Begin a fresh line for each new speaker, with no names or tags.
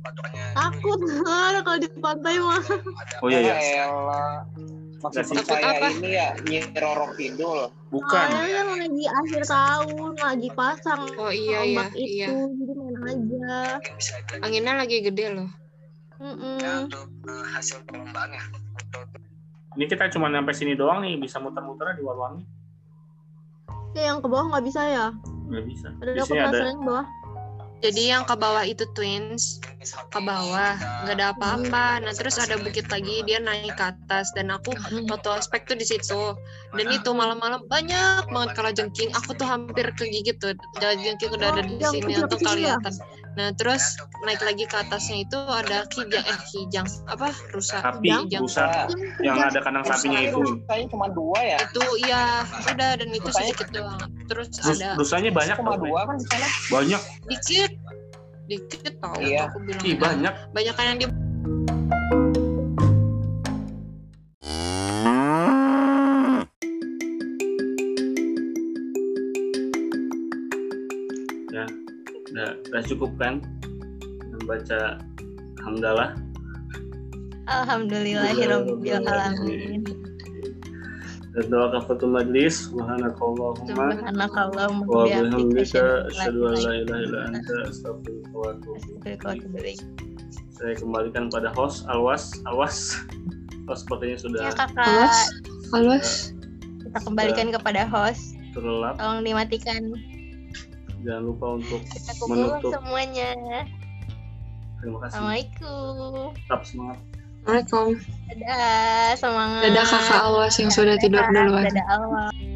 makanya
Takut lah kalau di pantai mah.
ada-
Oh iya ya.
Elah. Maksud
Nasi.
saya
Apa?
ini ya Nyi Roro Kidul.
Bukan.
Soalnya kan lagi akhir tahun, lagi pasang
Oh iya iya
ombak
iya.
itu, jadi main aja.
mungkin bisa dibilang
Anginnya lagi gede loh.
Mm-mm.
ya, untuk eh, hasil perlombaan ya untuk
Ah.
Ini kita cuma sampai sini doang nih, bisa muter-muter di Warwangi.
Ya, yang ke bawah nggak bisa ya?
Nggak bisa.
Ada
Di
aku
sini ada
penasaran yang bawah.
Jadi yang ke bawah itu twins
jenis hoki
ke bawah
kita
nggak ada apa-apa. Nah terus ada bukit lagi dia naik ke atas dan aku foto aspek tuh di situ. Dan
mana
itu malam-malam banyak banget kalajengking. Aku tuh hampir kegigit tuh. Kalajengking udah ada Oh, di
Yang
sini
kecil-kecil
untuk
ya?
kelihatan. Nah terus
ada bukit
naik lagi ke atasnya itu ada kijang eh kijang apa rusa
sapi,
kijang
rusa, yang ada kandang sapinya itu.
Nah, Saya cuma dua ya.
itu iya udah dan itu
Rusanya-
sedikit doang terus
Rus-
ada
rusanya banyak
cuma
tau, Bre.
dua kan di sana.
Banyak.
dikit dikit tau
Iya.
aku bilang
Ih, banyak.
banyak kan yang di
Udah, udah cukup kan? Membaca Hamdalah.
Alhamdulillahirobbilalamin.
Dan doa kafatul majlis. Subhanakallahumma.
Subhanakallahumma
Wa
bihamdika,
bihamdika asyhadu an la
asyhadu
ilaha illa anta astaghfiruka wa atubu
an la
ilaik.
ilaha illallah.
Saya kembalikan pada host Alwas. Alwas. Host sepertinya sudah
Ya kakak,
halus
kita kembalikan kepada host.
terlelap.
Tolong dimatikan.
Jangan lupa untuk
Kita kumpul
Menutup.
semuanya.
terima kasih.
Assalamualaikum.
Tetap semangat.
Assalamualaikum
Dadah, semangat.
dadah kakak awas yang sudah tidur
Dadah,
duluan
Dadah Allah.